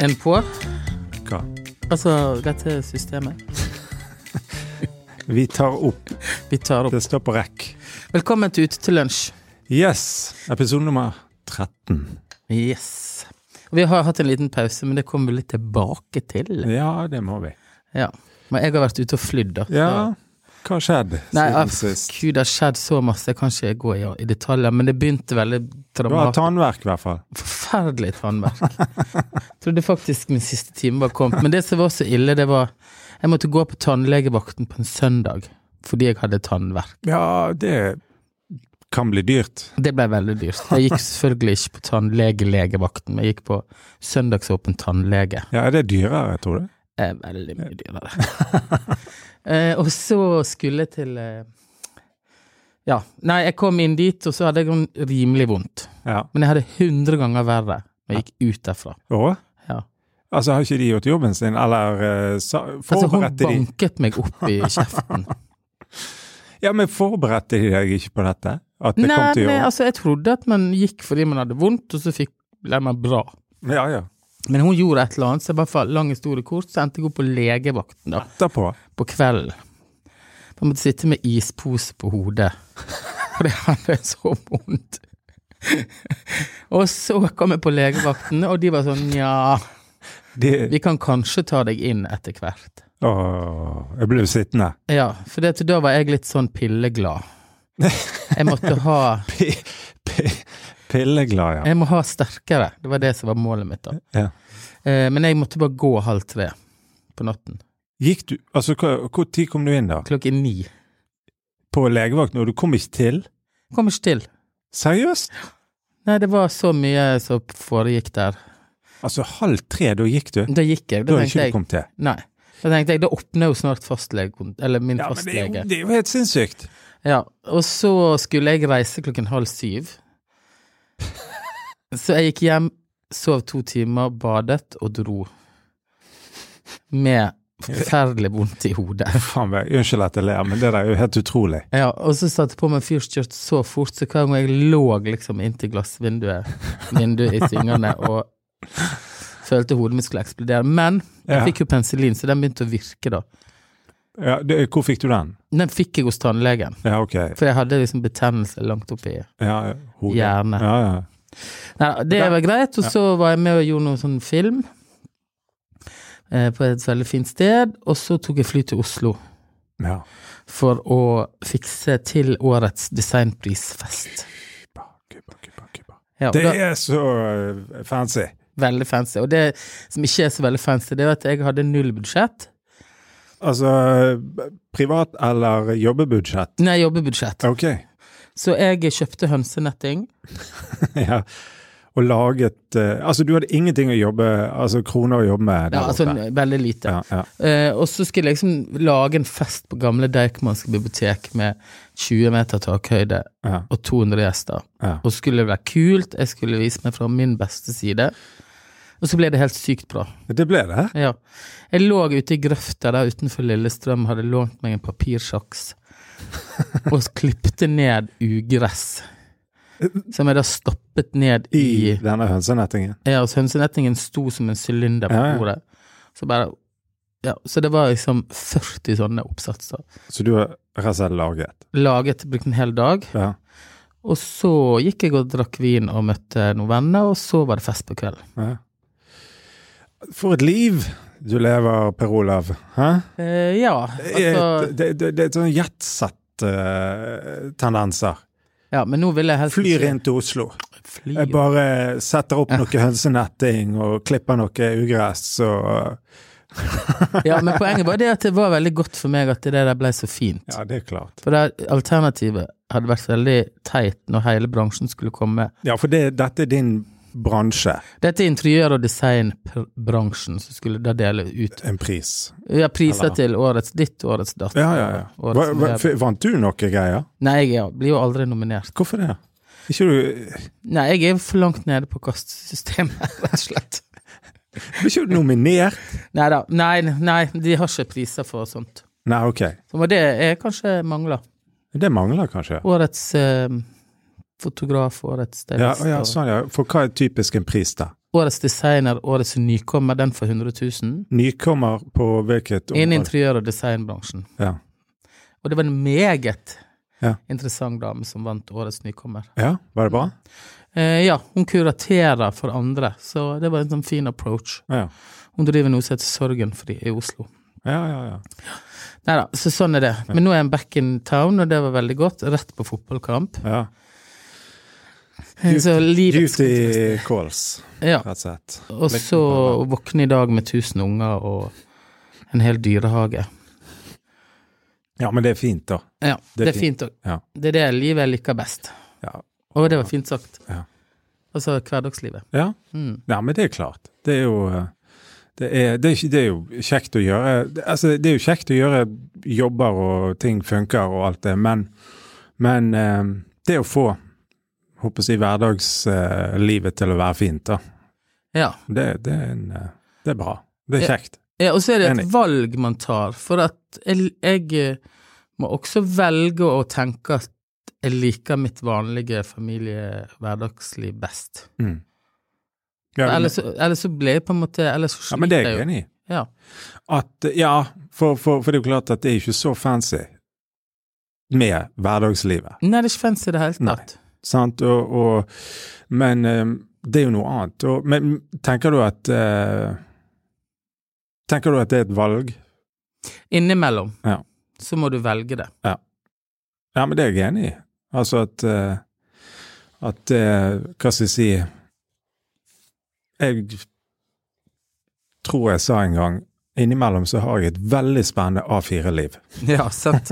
En på? Hva? Altså dette systemet. Vi tar opp. Vi tar det opp. Det står på rekk. Velkommen til Ute til lunsj. Yes! Episode nummer 13. Yes. Og Vi har hatt en liten pause, men det kommer vi litt tilbake til. Ja, det må vi. Ja. Men jeg har vært ute og flydd, da. så- Ja, hva skjedde Nei, altså, siden aff, sist? gud, det har skjedd så masse. Jeg kan ikke gå i, i detaljer, men det begynte veldig Du har dramatisk. tannverk, i hvert fall. Forferdelig tannverk. Trodde faktisk min siste time var kommet. Men det som var så ille, det var Jeg måtte gå på tannlegevakten på en søndag fordi jeg hadde tannverk. Ja, det kan bli dyrt. Det ble veldig dyrt. Jeg gikk selvfølgelig ikke på tannlegelegevakten, men jeg gikk på søndagsåpen tannlege. Ja, er det dyrere, tror du? Eh, veldig mye dyrere. eh, og så skulle jeg til eh, Ja. Nei, jeg kom inn dit, og så hadde jeg noen rimelig vondt. Ja. Men jeg hadde 100 ganger verre når jeg gikk ut derfra. Og? Ja. Altså, har ikke de gjort jobben sin, eller eh, sa, Altså, hun forberedte de banket meg opp i kjeften. Ja, men forberedte de deg ikke på dette? At det Nei, kom til å men altså, jeg trodde at man gikk fordi man hadde vondt, og så fikk ble man bra. Ja, ja. Men hun gjorde et eller annet, så i hvert fall lang historie kort, så endte jeg opp på legevakten da, Etterpå. på kvelden. Man måtte sitte med ispose på hodet, for det hadde så vondt. Og så kom jeg på legevakten, og de var sånn nja, De, vi kan kanskje ta deg inn etter hvert. Åh, jeg ble jo sittende. Ja, for det, da var jeg litt sånn pilleglad. Jeg måtte ha Pi, pi, pilleglad, ja. Jeg må ha sterkere. Det var det som var målet mitt, da. ja. Eh, men jeg måtte bare gå halv tre på natten. Gikk du Altså, hva- hvor tid kom du inn, da? Klokken ni. På legevakten, og du kom ikke til? Kom ikke til. Seriøst? Nei, det var så mye som foregikk der. Altså, halv tre, da gikk du? Da gikk jeg. Da Da hadde ikke tenkte du jeg kommet til? Nei. Da tenkte jeg, da åpner jo snart fastlege, eller min Ja, men det er, jo, fastlege. det er jo helt sinnssykt. Ja, og så skulle jeg reise klokken halv syv. Så jeg gikk hjem, sov to timer, badet og dro. Med forferdelig vondt i hodet. Faen meg, unnskyld at jeg ler, men det der er jo helt utrolig. Ja, og så satte jeg på meg fyrstskjørt så fort, så hver gang jeg lå liksom inntil glassvinduet vinduet i svingene og følte hodet mitt skulle eksplodere. Men jeg Ja. fikk jo penicillin, så den begynte å virke, da. Ja, det, hvor fikk du den? Den fikk jeg hos tannlegen, Ja, ok. for jeg hadde liksom betennelse langt oppi Ja, ja, hodet. hjernen. Ja, ja. Nei, det var greit, og så var jeg med og gjorde noen sånn film eh, på et veldig fint sted, og så tok jeg fly til Oslo ja. for å fikse til årets designprisfest. Kubba, kubba, kubba, kubba. Ja, og Det da- er så eh, fancy. Veldig fancy. Og det som ikke er så veldig fancy, det er jo at jeg hadde null budsjett. Altså, privat eller jobbebudsjett? Nei, jobbebudsjett. Ok. Så jeg kjøpte hønsenetting. ja. Og laget eh, Altså, du hadde ingenting å jobbe Altså kroner å jobbe med der Ja, altså oppe. n- veldig lite. Ja, ja. Eh, og så skulle jeg liksom lage en fest på gamle Deichmanske bibliotek med 20 meter takhøyde Ja. og 200 gjester. Ja. Og så skulle det være kult, jeg skulle vise meg fra min beste side. Og så ble det helt sykt bra. Det ble det? Ja. Jeg lå ute i grøfta der utenfor Lillestrøm, hadde lånt meg en papirsjaks og klipte ned ugress. Som jeg da stoppet ned I i denne hønsenettingen? Ja, altså hønsenettingen sto som en sylinder på Ja, ja. bordet. Så bare Ja, så det var liksom 40 sånne oppsatser. Så du har rett og slett laget? Laget, brukte en hel dag. Ja. Og så gikk jeg og drakk vin og møtte noen venner, og så var det fest på kvelden. ja. For et liv du lever, Per Olav. Hæ? Eh, ja, Det er altså et- det, det, det er et sånn eh, jetsett-tendenser. Ja, men nå vil jeg helst Flyr inn til Oslo. Flyr. Jeg bare setter opp noe hønsenetting og klipper noe ugress og Ja, men poenget var det at det var veldig godt for meg at det der ble så fint. Ja, det er klart. For det alternativet hadde vært veldig teit når hele bransjen skulle komme. Ja, for det, dette er din bransje. Dette er interiør- og designbransjen som skulle da dele ut En pris. ja, priser Eller- til årets ditt, årets datt. Ja, ja, ja. Årets Hva, hva, leder. f- vant du noe greier? Nei, jeg ja, blir jo aldri nominert. Hvorfor det? Ikke du, Nei, jeg er jo for langt nede på kastsystemet, rett og slett. ble ikke du nominert? Nei da. Nei, nei, de har ikke priser for sånt. Nei, ok. Så det er kanskje mangler. Det mangler kanskje. Årets eh, fotograf, årets Ja, stylist. ja, og- sånn, ja. For hva er typisk en pris, da? Årets designer, årets nykommer, den for 100 000. Nykommer på hvilket Innen område? interiør- og designbransjen. Ja. Og det var en meget Ja. interessant dame som vant årets nykommer. ja, var det bra? Eh, ja, hun kuraterer for andre, så det var en sånn fin approach. Ja, Hun driver noe som heter Sorgenfri i Oslo. ja, ja. ja. Nei da, så sånn er det. Men nå er jeg back in town, og det var veldig godt. Rett på fotballkamp. ja. Eh, Så livets Duty calls, Ja. rett og slett. Og så våkne i dag med tusen unger og en hel dyrehage. Ja, men det er fint, da. Ja, det er fint òg. Ja. Det er det livet jeg liker best. Ja. Og det var fint sagt. Ja. Altså hverdagslivet. Ja. Mm. ja, men det er klart. Det er jo eh, det er, det, er, ikke- det er jo kjekt å gjøre det- altså Det er jo kjekt å gjøre jobber og ting funker og alt det, men, men eh, det å få håper jeg, å si, hverdagslivet til å være fint, da, Ja. det, det, er en, eh, det er bra. Det er Ja. kjekt. Ja, og så er det et Enig. valg man tar, for at jeg, jeg eh, må også velge å tenke at jeg liker mitt vanlige familie-hverdagsliv best. Mm. Ja, men, Ellers, så- ellers så ble jeg på en måte Ellers så ja, men det sliter er jeg jeg jo. enig i. Ja. At, eh, ja, for, for, for det er jo klart at det er ikke så fancy med hverdagslivet. Nei, det er ikke fancy i det hele Nei. tatt. Sant? Og, og, men eh, det er jo noe annet. Og, men tenker du at eh, Tenker du at det er et valg? Innimellom Ja. så må du velge det. Ja, men det er jeg enig i. Altså at eh, At eh, Hva skal jeg si Jeg tror jeg sa en gang Innimellom så har jeg et veldig spennende A4-liv. Ja, sant?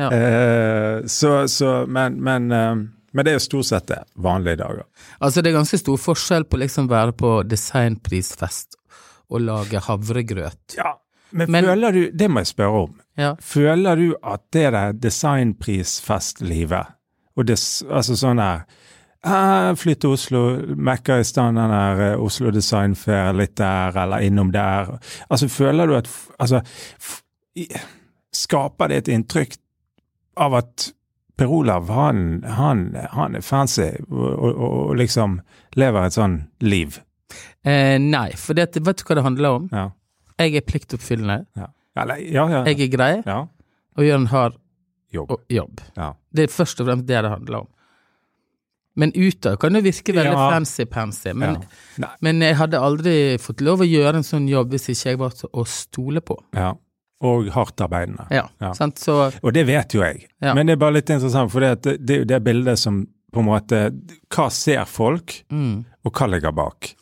Ja. Eh, så, så, men, men, eh, men det er jo stort sett det. Vanlige dager. Altså, det er ganske stor forskjell på liksom være på designprisfest og lage havregrøt. Ja, men, Men- føler du Det må jeg spørre om. Ja. Føler du at det der designprisfestlivet og des, altså sånn der eh, Flytt til Oslo, mekka i stand den der eh, Oslo Design Fair litt der, eller innom der. Altså, føler du at f- Altså, f, i, skaper det et inntrykk av at Per Olav, han, han, han er fancy og, og, og liksom lever et sånn liv? Eh, nei, for det, at- vet du hva det handler om? Ja. Jeg er pliktoppfyllende. ja. Eller, ja, ja. Jeg er grei ja. og gjør en hard Jobb. o- jobb. Ja. Det er først og fremst det det handler om. Men utad kan det virke veldig Ja. fancy-pansy. Men, ja. Nei. men jeg hadde aldri fått lov å gjøre en sånn jobb hvis ikke jeg var til å stole på. Ja. Og hardtarbeidende. Ja, Ja. sant? Så Og det vet jo jeg. Ja. Men det er bare litt interessant, for det, at det, det er jo det bildet som på en måte Hva ser folk, mm, og hva ligger bak?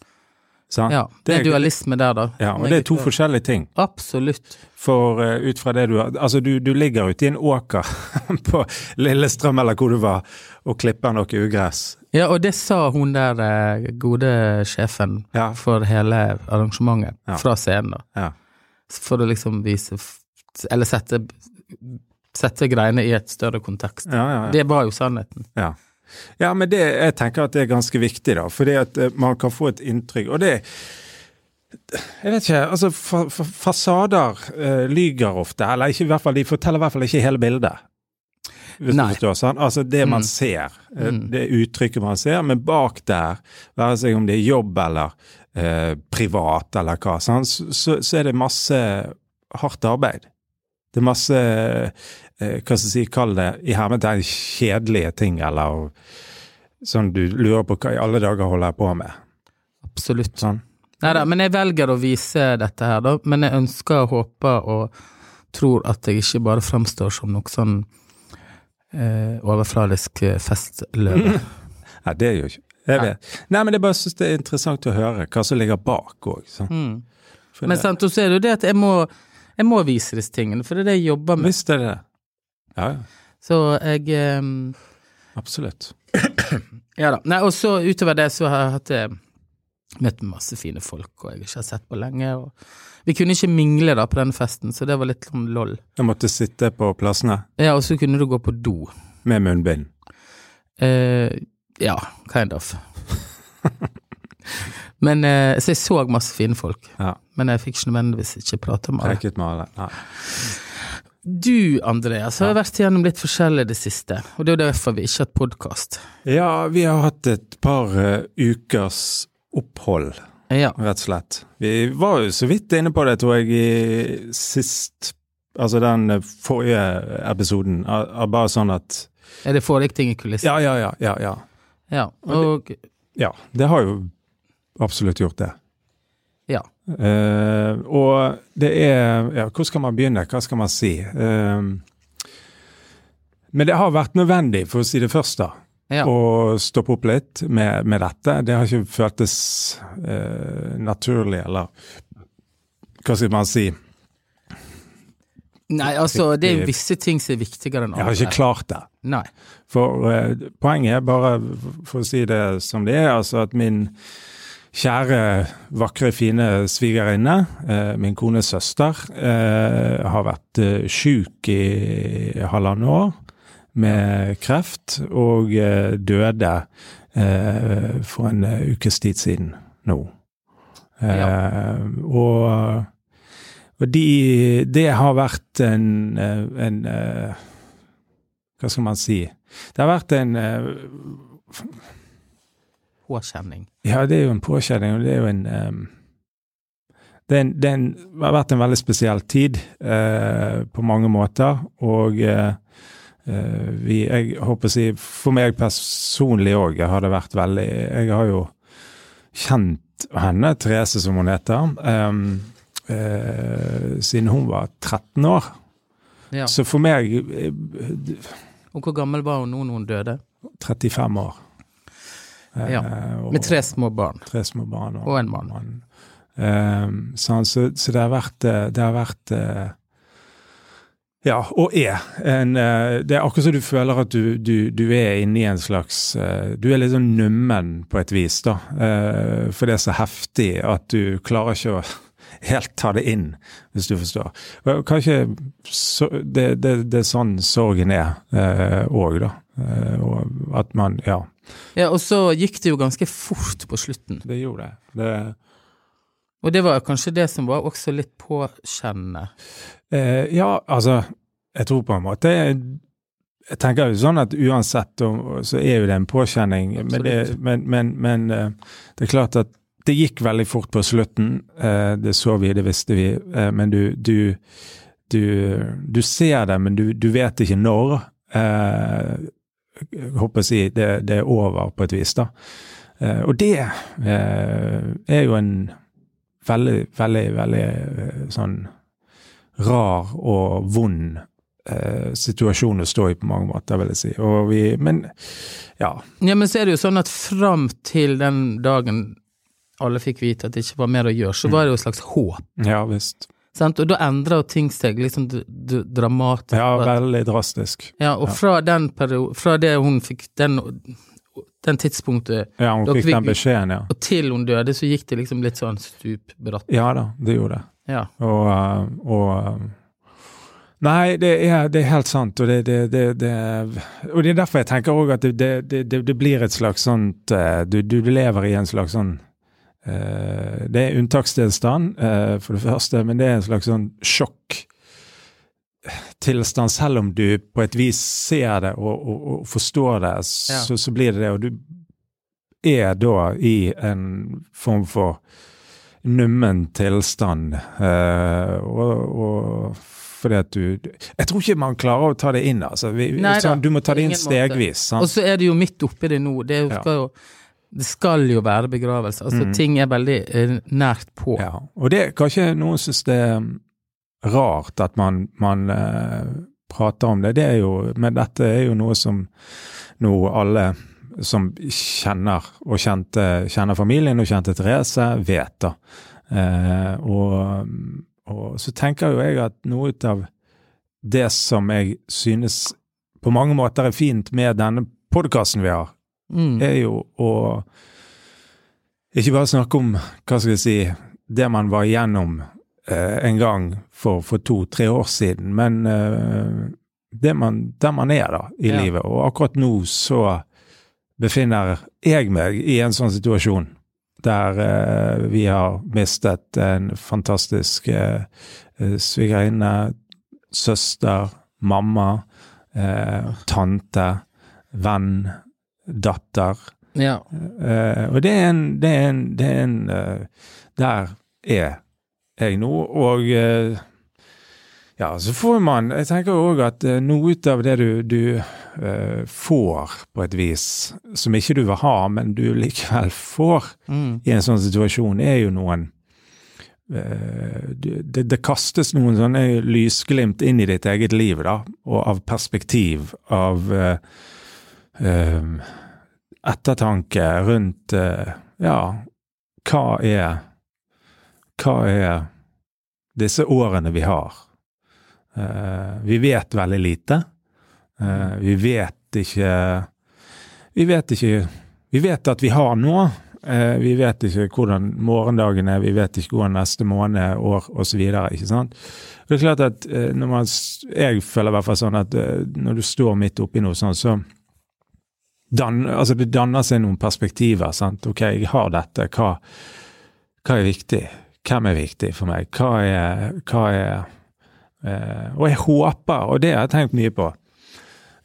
Sant? ja. Det er Det er- dualisme der, da. Ja, og det er to forskjellige ting. Absolutt. For eh, ut fra det du har Altså, du, du ligger ute i en åker på Lillestrøm eller hvor du var, og klipper noe ugress. Ja, og det sa hun der eh, gode sjefen Ja. for hele arrangementet Ja. fra scenen, da. Ja. For å liksom vise f- Eller sette, sette greiene i et større kontekst. Ja, ja, ja. Det var jo sannheten. Ja. ja, men det, jeg tenker at det er ganske viktig, da. Fordi at eh, man kan få et inntrykk. Og det Jeg vet ikke. Altså, fa fa fasader eh, lyger ofte. Eller ikke, i hvert fall, de forteller i hvert fall ikke hele bildet. Hvis Nei. du forstår, sant? Altså det man Mm. ser, eh, Mm. det uttrykket man ser, men bak der, være seg om det er jobb eller eh, privat eller hva, sant? Så, så, så er det masse hardt arbeid. Det er masse eh, hva skal jeg si, kall det i hermetegn kjedelige ting, eller sånn du lurer på hva i alle dager holder jeg på med. Absolutt. Sånn. Neida, men jeg velger å vise dette her, da. Men jeg ønsker og håper og tror at jeg ikke bare fremstår som noe sånn eh, overfladisk eh, festløve. Nei, det gjør ikke jeg vet. Nei, men det er bare jeg synes det er interessant å høre hva som ligger bak sånn. òg. Mm. Men sant, og så er det jo det at jeg må, jeg må vise disse tingene, for det er det jeg jobber med. Visst er det det. Ja, ja. Så jeg eh, Absolutt. Ja da. Nei, og så utover det så har jeg hatt eh, møtt masse fine folk, og jeg ikke har sett på lenge. Og... Vi kunne ikke mingle da på denne festen, så det var litt sånn lol. Jeg måtte sitte på plassene Ja, og så kunne du gå på do. med munnbind. Eh, ja, kind of. Men, eh, så jeg så masse fine folk, Ja. men jeg fikk ikke nødvendigvis ikke prate med alle. Rekket med alle. Nei. Du, Andreas, har vært gjennom litt forskjellig i det siste, og det er jo derfor vi ikke har hatt podkast. Ja, vi har hatt et par eh, ukers opphold, Ja. rett og slett. Vi var jo så vidt inne på det, tror jeg, i sist Altså den forrige episoden. av- av Bare sånn at Er det foregikk ting i kulissen? Ja, ja, ja, ja. Ja, Ja. Og ja det har jo absolutt gjort det. ja. Eh, og det er ja, Hvor skal man begynne? Hva skal man si? Eh, men det har vært nødvendig, for å si det først, da, Ja. å stoppe opp litt med, med dette. Det har ikke føltes eh, naturlig, eller hva skal man si? Jeg Nei, altså, det er visse ting som er viktigere enn har ikke andre. klart det. Nei. For eh, poenget er bare, for å si det som det er, altså at min kjære, vakre, fine svigerinne, eh, min kones søster, eh, har vært eh, sjuk i halvannet år med kreft, og eh, døde eh, for en eh, ukes tid siden nå. Eh, Og og de, det har vært en, eh, en eh, Hva skal man si? Det har vært en eh, Påkjenning. Ja, det er jo en påkjenning, og det er jo en eh, det, er en, det er en, det har vært en veldig spesiell tid eh, på mange måter, og eh, eh, vi, jeg håper å si, for meg personlig òg har det vært veldig Jeg har jo kjent henne, Therese som hun heter, eh, eh, siden hun var 13 år. Ja. Så for meg eh, Og hvor gammel var hun nå når hun døde? 35 år. Eh, Ja, og Med tre små barn. tre små barn og, Og en mann. Eh, sånn, så, så det har vært, eh, det har vært eh, ja, og er. En, eh, det er akkurat som du føler at du, du, du er inni en slags eh, Du er litt sånn nummen på et vis, da. eh, For det er så heftig at du klarer ikke å helt ta det inn, hvis du forstår. Og Kanskje så, det, det, det er sånn sorgen er òg, da. Eh, Og at man Ja, Ja, og så gikk det jo ganske fort på slutten. det gjorde det. det Og det var kanskje det som var også litt påkjennende. Eh, ja, altså, jeg tror på en måte Jeg tenker jo sånn at uansett om, så er jo det en påkjenning, men det, Absolutt. men, men, men eh, det er klart at det gikk veldig fort på slutten. Eh, det så vi, det visste vi, eh, men du, du, du, du ser det, men du, du vet ikke når. Eh, jeg håper å si det, det er over på et vis, da. Eh, og det eh, er jo en veldig, veldig, veldig eh, sånn rar og vond eh, situasjon å stå i på mange måter, vil jeg si. Og vi, men ja. Ja, men så er det jo sånn at fram til den dagen alle fikk vite at det ikke var mer å gjøre, så var det jo et slags håp. Ja visst. Sant? Og da endra jo ting seg liksom d d dramatisk. Ja, veldig drastisk. Ja, og fra den periode, fra det hun fikk den, den tidspunktet Ja, hun Dere fikk den fikk- beskjeden, ja. og til hun døde, så gikk det liksom litt sånn stupbratt. Ja da, det gjorde det. Ja. Og, eh, og eh, Nei, det er, det er helt sant, og det, det, det, det Og det er derfor jeg tenker òg at det, det, det, det, det blir et slags sånt eh, Du, du lever i en slags sånn eh, Det er unntakstilstand, eh, for det første, men det er en slags sånn sjokktilstand, selv om du på et vis ser det og, og, og forstår det, Ja. så, så blir det det. Og du er da i en form for nummen tilstand. eh, og, og fordi at du Jeg tror ikke man klarer å ta det inn, altså. Vi, Nei da, sånn, du må ta på det inn ingen måte. stegvis. Og Sant? så er det jo midt oppi det nå. Det, er jo- Ja. skal jo, det skal jo være begravelse. Altså, Mm. ting er veldig eh, nært på. Ja. Og det kanskje noen syns det er um, rart at man, man eh, prater om det. Det er jo Men dette er jo noe som nå alle som kjenner og kjente, kjenner familien og kjente Therese, vet, da. Eh, og, um, og så tenker jo jeg at noe ut av det som jeg synes på mange måter er fint med denne podkasten vi har, Mm. er jo å ikke bare snakke om, hva skal jeg si, det man var igjennom eh, en gang for, for to-tre år siden, men eh, det man, der man er da i Ja. livet. Og akkurat nå så befinner jeg meg i en sånn situasjon der eh, vi har mistet en fantastisk eh, eh, svigerinne, søster, mamma, eh, tante, venn, datter. Ja. Eh, og det er en, det er en, det er en eh, Der er jeg nå, og eh, ja, så får man Jeg tenker òg at eh, noe ut av det du, du eh, får på et vis, som ikke du vil ha, men du likevel får Mm. i en sånn situasjon, er jo noen eh, du- det, det kastes noen sånne lysglimt inn i ditt eget liv, da, og av perspektiv, av eh, eh, ettertanke rundt eh, Ja, hva er Hva er disse årene vi har? Eh, vi vet veldig lite. Eh, vi vet ikke Vi vet ikke Vi vet at vi har noe. Eh, vi vet ikke hvordan morgendagen er, vi vet ikke hvordan neste måned, år osv. Ikke sant? Det er klart at eh, når man, s- Jeg føler i hvert fall sånn at eh, når du står midt oppi noe sånn, så dan, altså det danner seg noen perspektiver. sant? Ok, jeg har dette. Hva, hva er viktig? Hvem er viktig for meg? Hva er, hva er eh, Og jeg håper, og det har jeg tenkt mye på,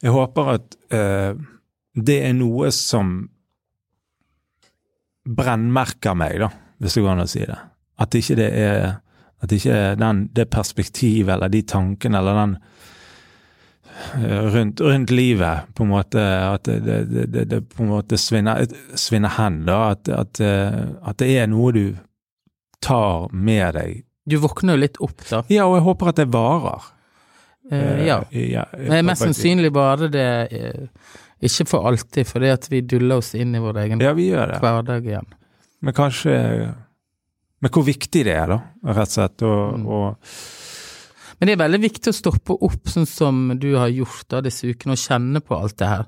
jeg håper at eh, det er noe som brennmerker meg, da, hvis det går an å si det. At ikke det er at ikke den, det perspektivet eller de tankene eller den eh, rundt, rundt livet på en måte At det, det, det- det, det på en måte svinner, svinner hen. da, at, at, eh, at det er noe du tar med deg. Du våkner jo litt opp, da. Ja, og jeg håper at det varer. Eh, ja. Eh, ja, Men mest på- på- sannsynlig varer det eh, ikke for alltid, fordi at vi duller oss inn i vår egen Ja, vi gjør det. hverdag igjen. Men kanskje Men hvor viktig det er, da, rett og slett. Og, Mm. og, Men det er veldig viktig å stoppe opp, sånn som du har gjort da disse ukene, og kjenne på alt det her.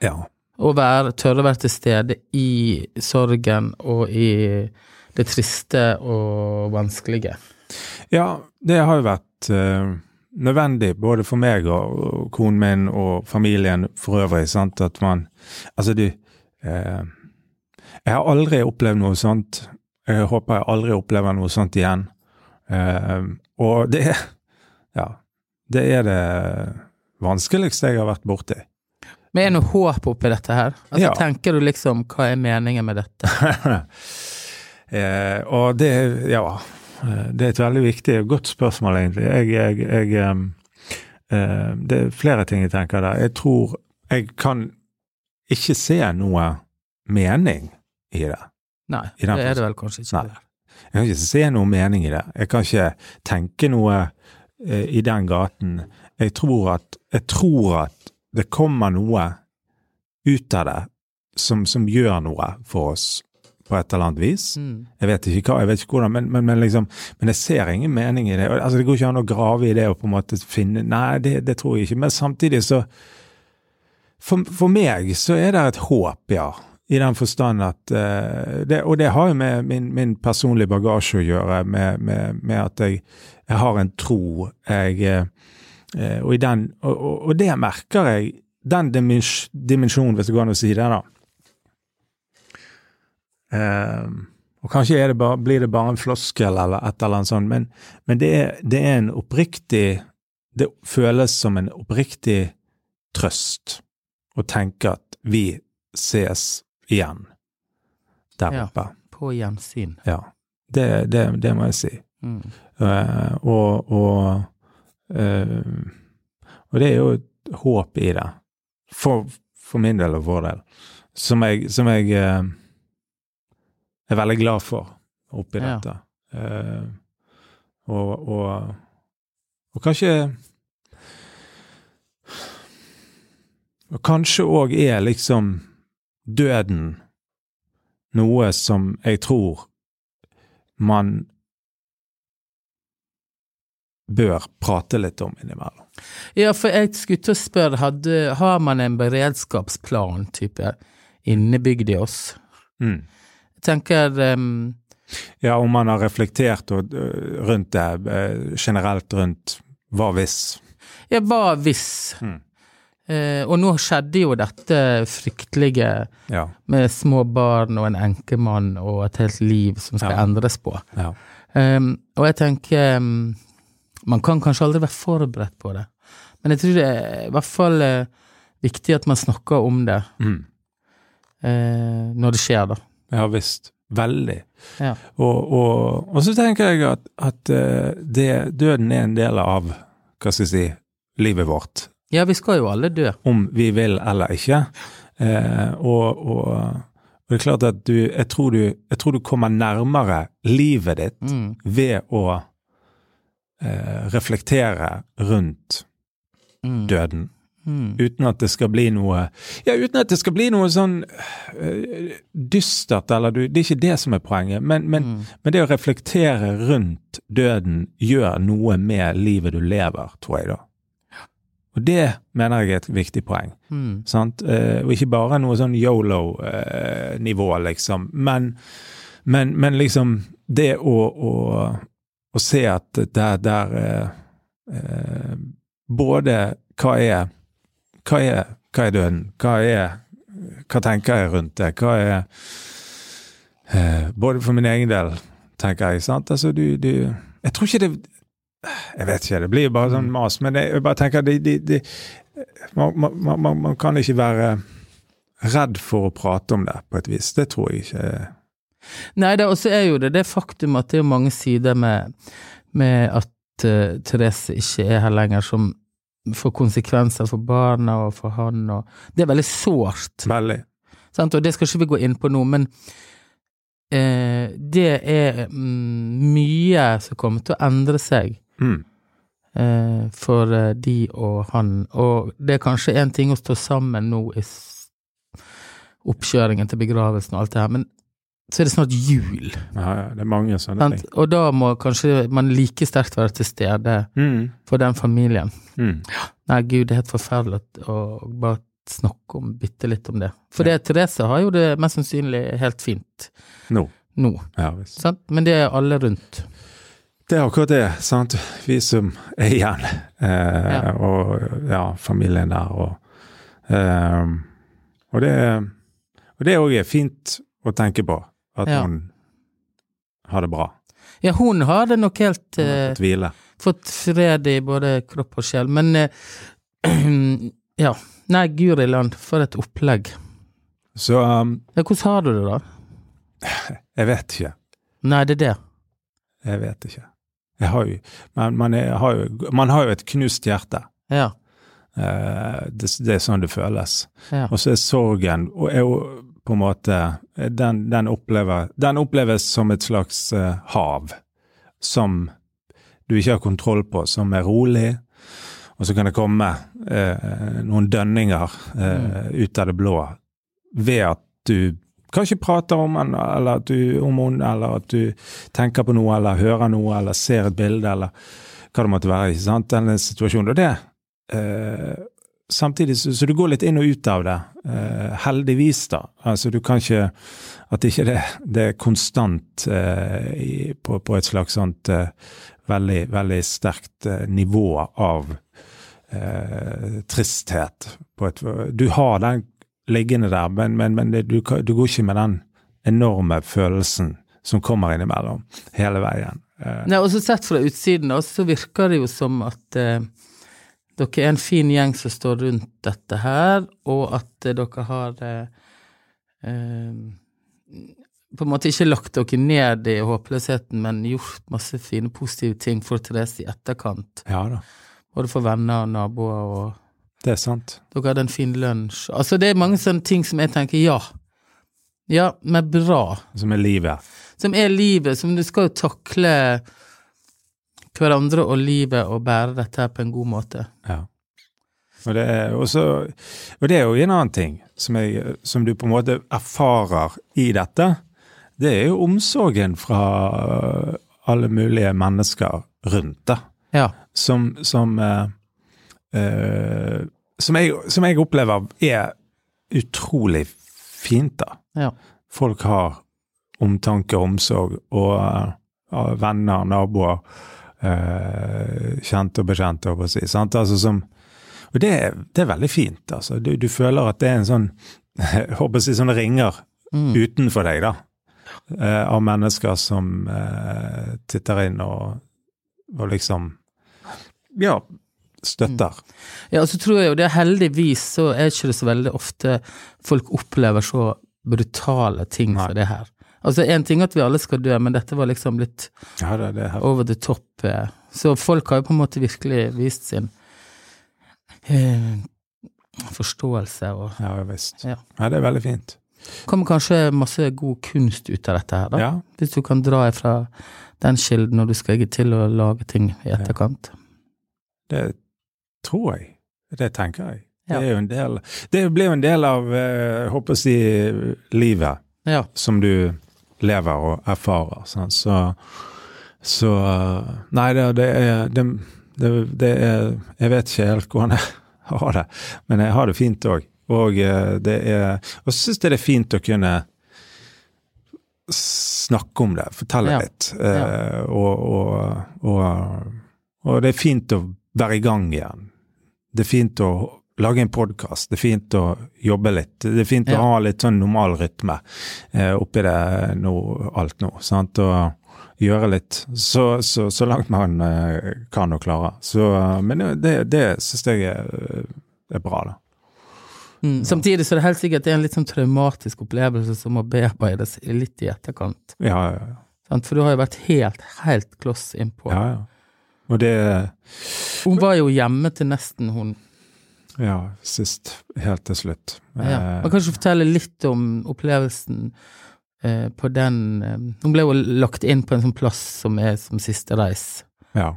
ja. Og være, tørre å være til stede i sorgen og i det triste og vanskelige. Ja, det har jo vært eh, nødvendig både for meg og, og konen min og familien for øvrig, sant, at man Altså, du eh, Jeg har aldri opplevd noe sånt. Jeg håper jeg aldri opplever noe sånt igjen. Eh, og det er Ja. Det er det vanskeligste jeg har vært borti. Men er det noe håp oppi dette her? Altså, Ja. Tenker du liksom hva er meningen med dette? eh, og det Ja. eh, Det er et veldig viktig og godt spørsmål, egentlig. Jeg, jeg, jeg em, eh, Det er flere ting jeg tenker der. Jeg tror jeg kan ikke se noe mening i det. Nei, I det den er det vel kanskje ikke. Nei. Jeg kan ikke se noe mening i det. Jeg kan ikke tenke noe eh, i den gaten. Jeg tror at, jeg tror at det kommer noe ut av det som, som gjør noe for oss på et eller annet vis. Mm. Jeg vet ikke hva, jeg vet ikke hvordan, men, men, men liksom Men jeg ser ingen mening i det. Og, Altså, det går ikke an å grave i det og på en måte finne Nei, det, det tror jeg ikke. Men samtidig så for, for meg så er det et håp, ja. I den forstand at eh, det, Og det har jo med min, min personlige bagasje å gjøre, med, med, med at jeg, jeg har en tro. Jeg, eh, eh, og, i den, og, og, og det merker jeg. Den dimens- dimensjonen, hvis det går an å si det, da. Eh, og kanskje er det bare, blir det bare en floskel eller et eller annet sånt, men, men det, er, det er en oppriktig Det føles som en oppriktig trøst å tenke at vi ses igjen der Ja. oppe. På gjensyn. Ja. Det, det, det må jeg si. Mm. Eh, og, og, eh, og det er jo et håp i det, for, for min del og vår del, som jeg, som jeg eh, er veldig glad for oppi Ja. dette. Eh, og, og, og kanskje Og kanskje òg er liksom døden noe som jeg tror man bør prate litt om innimellom. Ja, for jeg skulle til å spørre, hadde, har man en beredskapsplan, type, innebygd i oss? Mm. Jeg tenker ehm, Ja, om man har reflektert og, øh, rundt det, øh, generelt rundt hva hvis. Ja, hva hvis? Mm. Eh, og nå skjedde jo dette fryktelige Ja. med små barn og en enkemann og et helt liv som skal Ja. endres på. ja. Ehm, og jeg tenker ehm, Man kan kanskje aldri være forberedt på det, men jeg tror det er i hvert fall eh, viktig at man snakker om det. Mm. eh, når det skjer, da. Ja visst. Veldig. Ja. Og, og, og så tenker jeg at, at eh, det, døden er en del av, hva skal jeg si, livet vårt. ja, vi skal jo alle dø. om vi vil eller ikke. Eh, og, og, og det er klart at du jeg, tror du jeg tror du kommer nærmere livet ditt Mm. ved å eh, reflektere rundt Mm. døden. Mm. Uten at det skal bli noe Ja, uten at det skal bli noe sånn eh, dystert, eller du Det er ikke det som er poenget, men, men, Mm. men det å reflektere rundt døden gjør noe med livet du lever, tror jeg, da. Og det mener jeg er et viktig poeng. Mm. Sant? Eh, og ikke bare noe sånn yolo-nivå, liksom. Men, men, men liksom det å, å, å se at der, der eh, eh, Både hva er, hva er Hva er døden? Hva er Hva tenker jeg rundt det? Hva er eh, Både for min egen del, tenker jeg. sant? Altså, du, du Jeg tror ikke det Jeg vet ikke, det blir jo bare sånn mas, men jeg, jeg bare tenker det, det, det man, man, man- man, man kan ikke være redd for å prate om det, på et vis. Det tror jeg ikke. Nei, det, og så er jo det det faktum at det er mange sider med, med at eh, Therese ikke er her lenger, som får konsekvenser for barna og for han, og Det er veldig sårt, Veldig. sant? og det skal ikke vi gå inn på nå, men eh, det er mm, mye som kommer til å endre seg Mm. eh, for eh, de og han, og det er kanskje en ting å stå sammen nå i s- oppkjøringen til begravelsen og alt det her, men så er det snart jul. Ja, ja, det er mange sånne Sant? ting. Og da må kanskje man like sterkt være til stede Mm. for den familien. Mm. Nei, gud, det er helt forferdelig at- å bare snakke om, bitte litt om det. For det, Therese har jo det mest sannsynlig helt fint Nå. nå, Ja, visst. sant? men det er alle rundt. Det er akkurat det, sant. Vi som er igjen, eh, Ja. og ja, familien der, og eh, Og det og det òg er fint å tenke på. At Ja. hun har det bra. Ja, hun har det nok helt Hun eh, har fått hvile. fått fred i både kropp og sjel, men eh, ja. Nei, guri land, for et opplegg. Så um, Ja, hvordan har du det, da? jeg vet ikke. Nei, det er det. Jeg vet ikke. Jeg har jo, men man, er, har jo, man har jo et knust hjerte. Ja. Eh, det, det er sånn det føles. ja. Og så er sorgen og er jo på en måte eh, den, den, opplever, den oppleves som et slags eh, hav som du ikke har kontroll på, som er rolig. Og så kan det komme eh, noen dønninger eh, ut av det blå ved at du kanskje prater om henne, eller at du, om hun, eller at du tenker på noe, eller hører noe, eller ser et bilde, eller hva det måtte være. ikke sant? Denne situasjonen. Og det eh, Samtidig så, så du går litt inn og ut av det, eh, heldigvis, da. Altså du kan ikke At ikke det, det er konstant eh, i, på, på et slags sånt eh, veldig, veldig sterkt eh, nivå av eh, tristhet. På et, du har den liggende der, men, men, men det, du, kan- du går ikke med den enorme følelsen som kommer innimellom hele veien. Eh, Nei, også sett fra utsiden, da, så virker det jo som at eh, dere er en fin gjeng som står rundt dette her, og at eh, dere har eh, eh, på en måte ikke lagt dere ned i håpløsheten, men gjort masse fine, positive ting for Therese i etterkant. ja da, Både for venner og naboer, og det er sant. dere hadde en fin lunsj. Altså, det er mange sånne ting som jeg tenker ja. Ja, men bra Som er Altså, livet. som er livet, som du skal jo takle hverandre og livet og bære dette her på en god måte. Ja. Og det, er, og så- og det er jo en annen ting som, jeg, som du på en måte erfarer i dette. Det er jo omsorgen fra øh, alle mulige mennesker rundt det, Ja. som, som, eh, eh, som, jeg, som jeg opplever er utrolig fint, da. ja. Folk har omtanke og omsorg, og eh, venner, naboer, eh, kjente og bekjente, holdt jeg på å si. Sant? Altså som, og det, er- det er veldig fint, altså. Du, du føler at det er en sånn, jeg håper å si, sånn ringer Mm. utenfor deg, da. eh, av mennesker som eh, titter inn og, og liksom Ja, støtter. Mm. ja, og så tror jeg jo det heldigvis så er ikke det så veldig ofte folk opplever så brutale ting Nei. som det her. Altså, én ting at vi alle skal dø, men dette var liksom litt Ja, det, det er helt over the top. eh. Så folk har jo på en måte virkelig vist sin eh, forståelse og Ja, visst. Ja. Ja. det er veldig fint. kommer kanskje masse god kunst ut av dette her, da. Ja, Hvis du kan dra ifra den kilden når du skal egentlig til å lage ting i etterkant. det tror jeg. Det tenker jeg. Ja. Det, er jo en del, det blir jo en del av, eh, håper jeg å si, livet Ja. som du lever og erfarer. sant? Så, så eh, Nei, det, det er det, det, det er Jeg vet ikke helt hvordan jeg har det, men jeg har det fint òg. Og eh, det er Og så syns jeg det er fint å kunne snakke om det, fortelle Ja. litt. eh, Og, og, og, og det er fint å være i gang igjen. Det er fint å lage en podkast, det er fint å jobbe litt. Det er fint Ja. å ha litt sånn normal rytme eh, oppi det nå, alt nå. sant? Og gjøre litt så, så, så langt man eh, kan og klarer. Så, eh, men det, det syns jeg er, er bra, da. Mm. Samtidig så er det helt sikkert en litt sånn traumatisk opplevelse som må bearbeides litt i etterkant. Ja, ja, ja. Sant? For du har jo vært helt, helt kloss innpå. ja, ja. Og det Hun var jo hjemme til nesten hun. Ja, sist, helt til slutt. Ja. Eh, Man kan ikke fortelle litt om opplevelsen eh, på den eh, Hun ble jo lagt inn på en sånn plass som er som siste reis. Ja.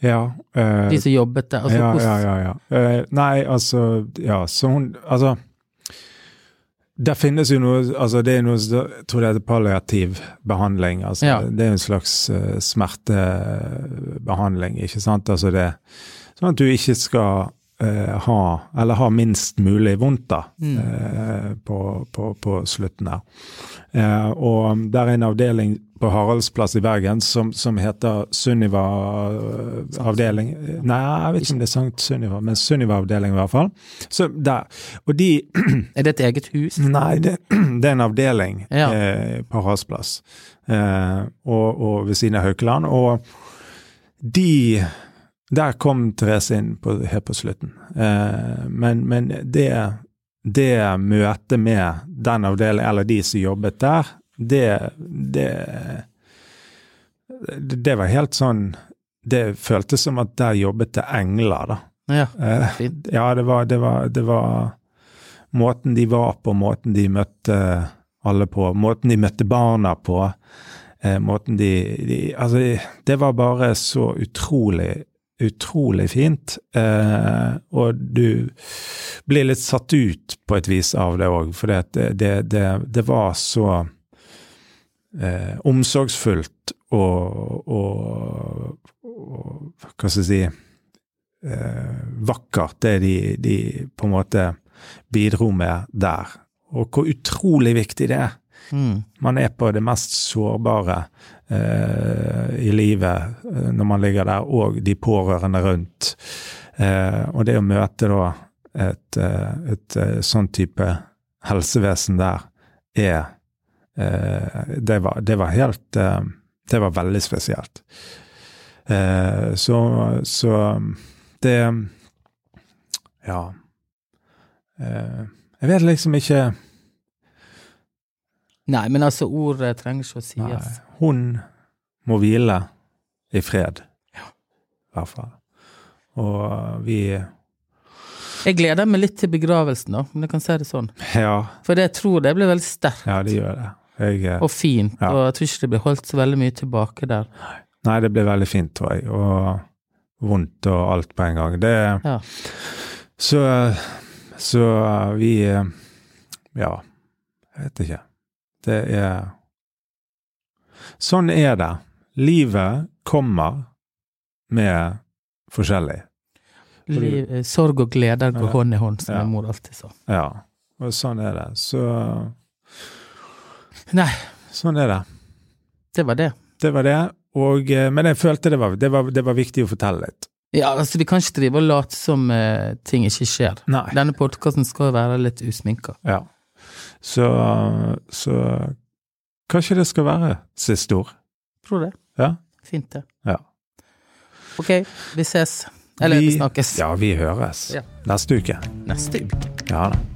ja eh, De som jobbet der. Altså, ja, ja, hvordan- ja, ja. Eh, nei, altså Ja, så hun Altså der finnes jo noe altså Det er noe som- jeg tror det heter palliativ behandling. altså Ja. Det er en slags eh, smertebehandling, ikke sant? altså det Sånn at du ikke skal eh, ha Eller ha minst mulig vondt, da, Mm. eh, på, på, på slutten her. Eh, og der er en avdeling på Haraldsplass i Bergen som, som heter Sunniva eh, avdeling Nei, jeg vet ikke om det er Sankt Sunniva, men Sunniva avdeling i hvert fall. Så der. Og de Er det et eget hus? Nei, det, det er en avdeling Ja. eh, på Haraldsplass. Eh, og, og ved siden av Haukeland. Og de Der kom Therese inn på, helt på slutten. Eh, men, men det, det møtet med den avdelingen, eller de som jobbet der, det, det Det var helt sånn Det føltes som at der jobbet det engler, da. Ja. Eh, Fint. ja, det var, det, var, det var måten de var på, måten de møtte alle på, måten de møtte barna på. Eh, måten de, de Altså, det var bare så utrolig, utrolig fint. Eh, og du blir litt satt ut på et vis av det òg, for det, det, det, det var så eh, omsorgsfullt og, og, og Hva skal jeg si eh, vakkert, det de, de på en måte bidro med der. Og hvor utrolig viktig det er. Mm. Man er på det mest sårbare eh, i livet eh, når man ligger der, og de pårørende rundt. Eh, og det å møte da et, eh, et eh, sånn type helsevesen der, er eh, det, var, det var helt eh, Det var veldig spesielt. Eh, så, så det Ja. Eh, jeg vet liksom ikke Nei, men altså, ordet trenger ikke å Nei, sies. hun må hvile i fred. I hvert fall. Og vi Jeg gleder meg litt til begravelsen, da, om jeg kan si det sånn. Ja, For det- jeg tror det blir veldig sterkt ja det gjør det. Jeg, eh, og fint, Ja. og jeg tror ikke det blir holdt så veldig mye tilbake der. nei, det ble veldig fint, tror jeg. Og vondt og alt på en gang. Det Ja. Så Så vi eh, Ja, jeg vet ikke. Det er Sånn er det. Livet kommer med forskjellig. Liv, eh, sorg og gleder går Ja. hånd i hånd, som Ja. min mor alltid sa. Ja, og sånn er det. Så Nei. Sånn er det. Det var det. Det var det. Og, eh, men jeg følte det var, det, var, det var viktig å fortelle litt. Ja, altså, vi kan ikke drive og late som eh, ting ikke skjer. Nei. Denne podkasten skal jo være litt usminka. Ja. Så, så kanskje det skal være siste ord. Tror det. Ja. Fint, det. Ja. Ok, vi ses. Eller vi, snakkes Ja, vi høres Ja. neste uke. neste uke. Ja da.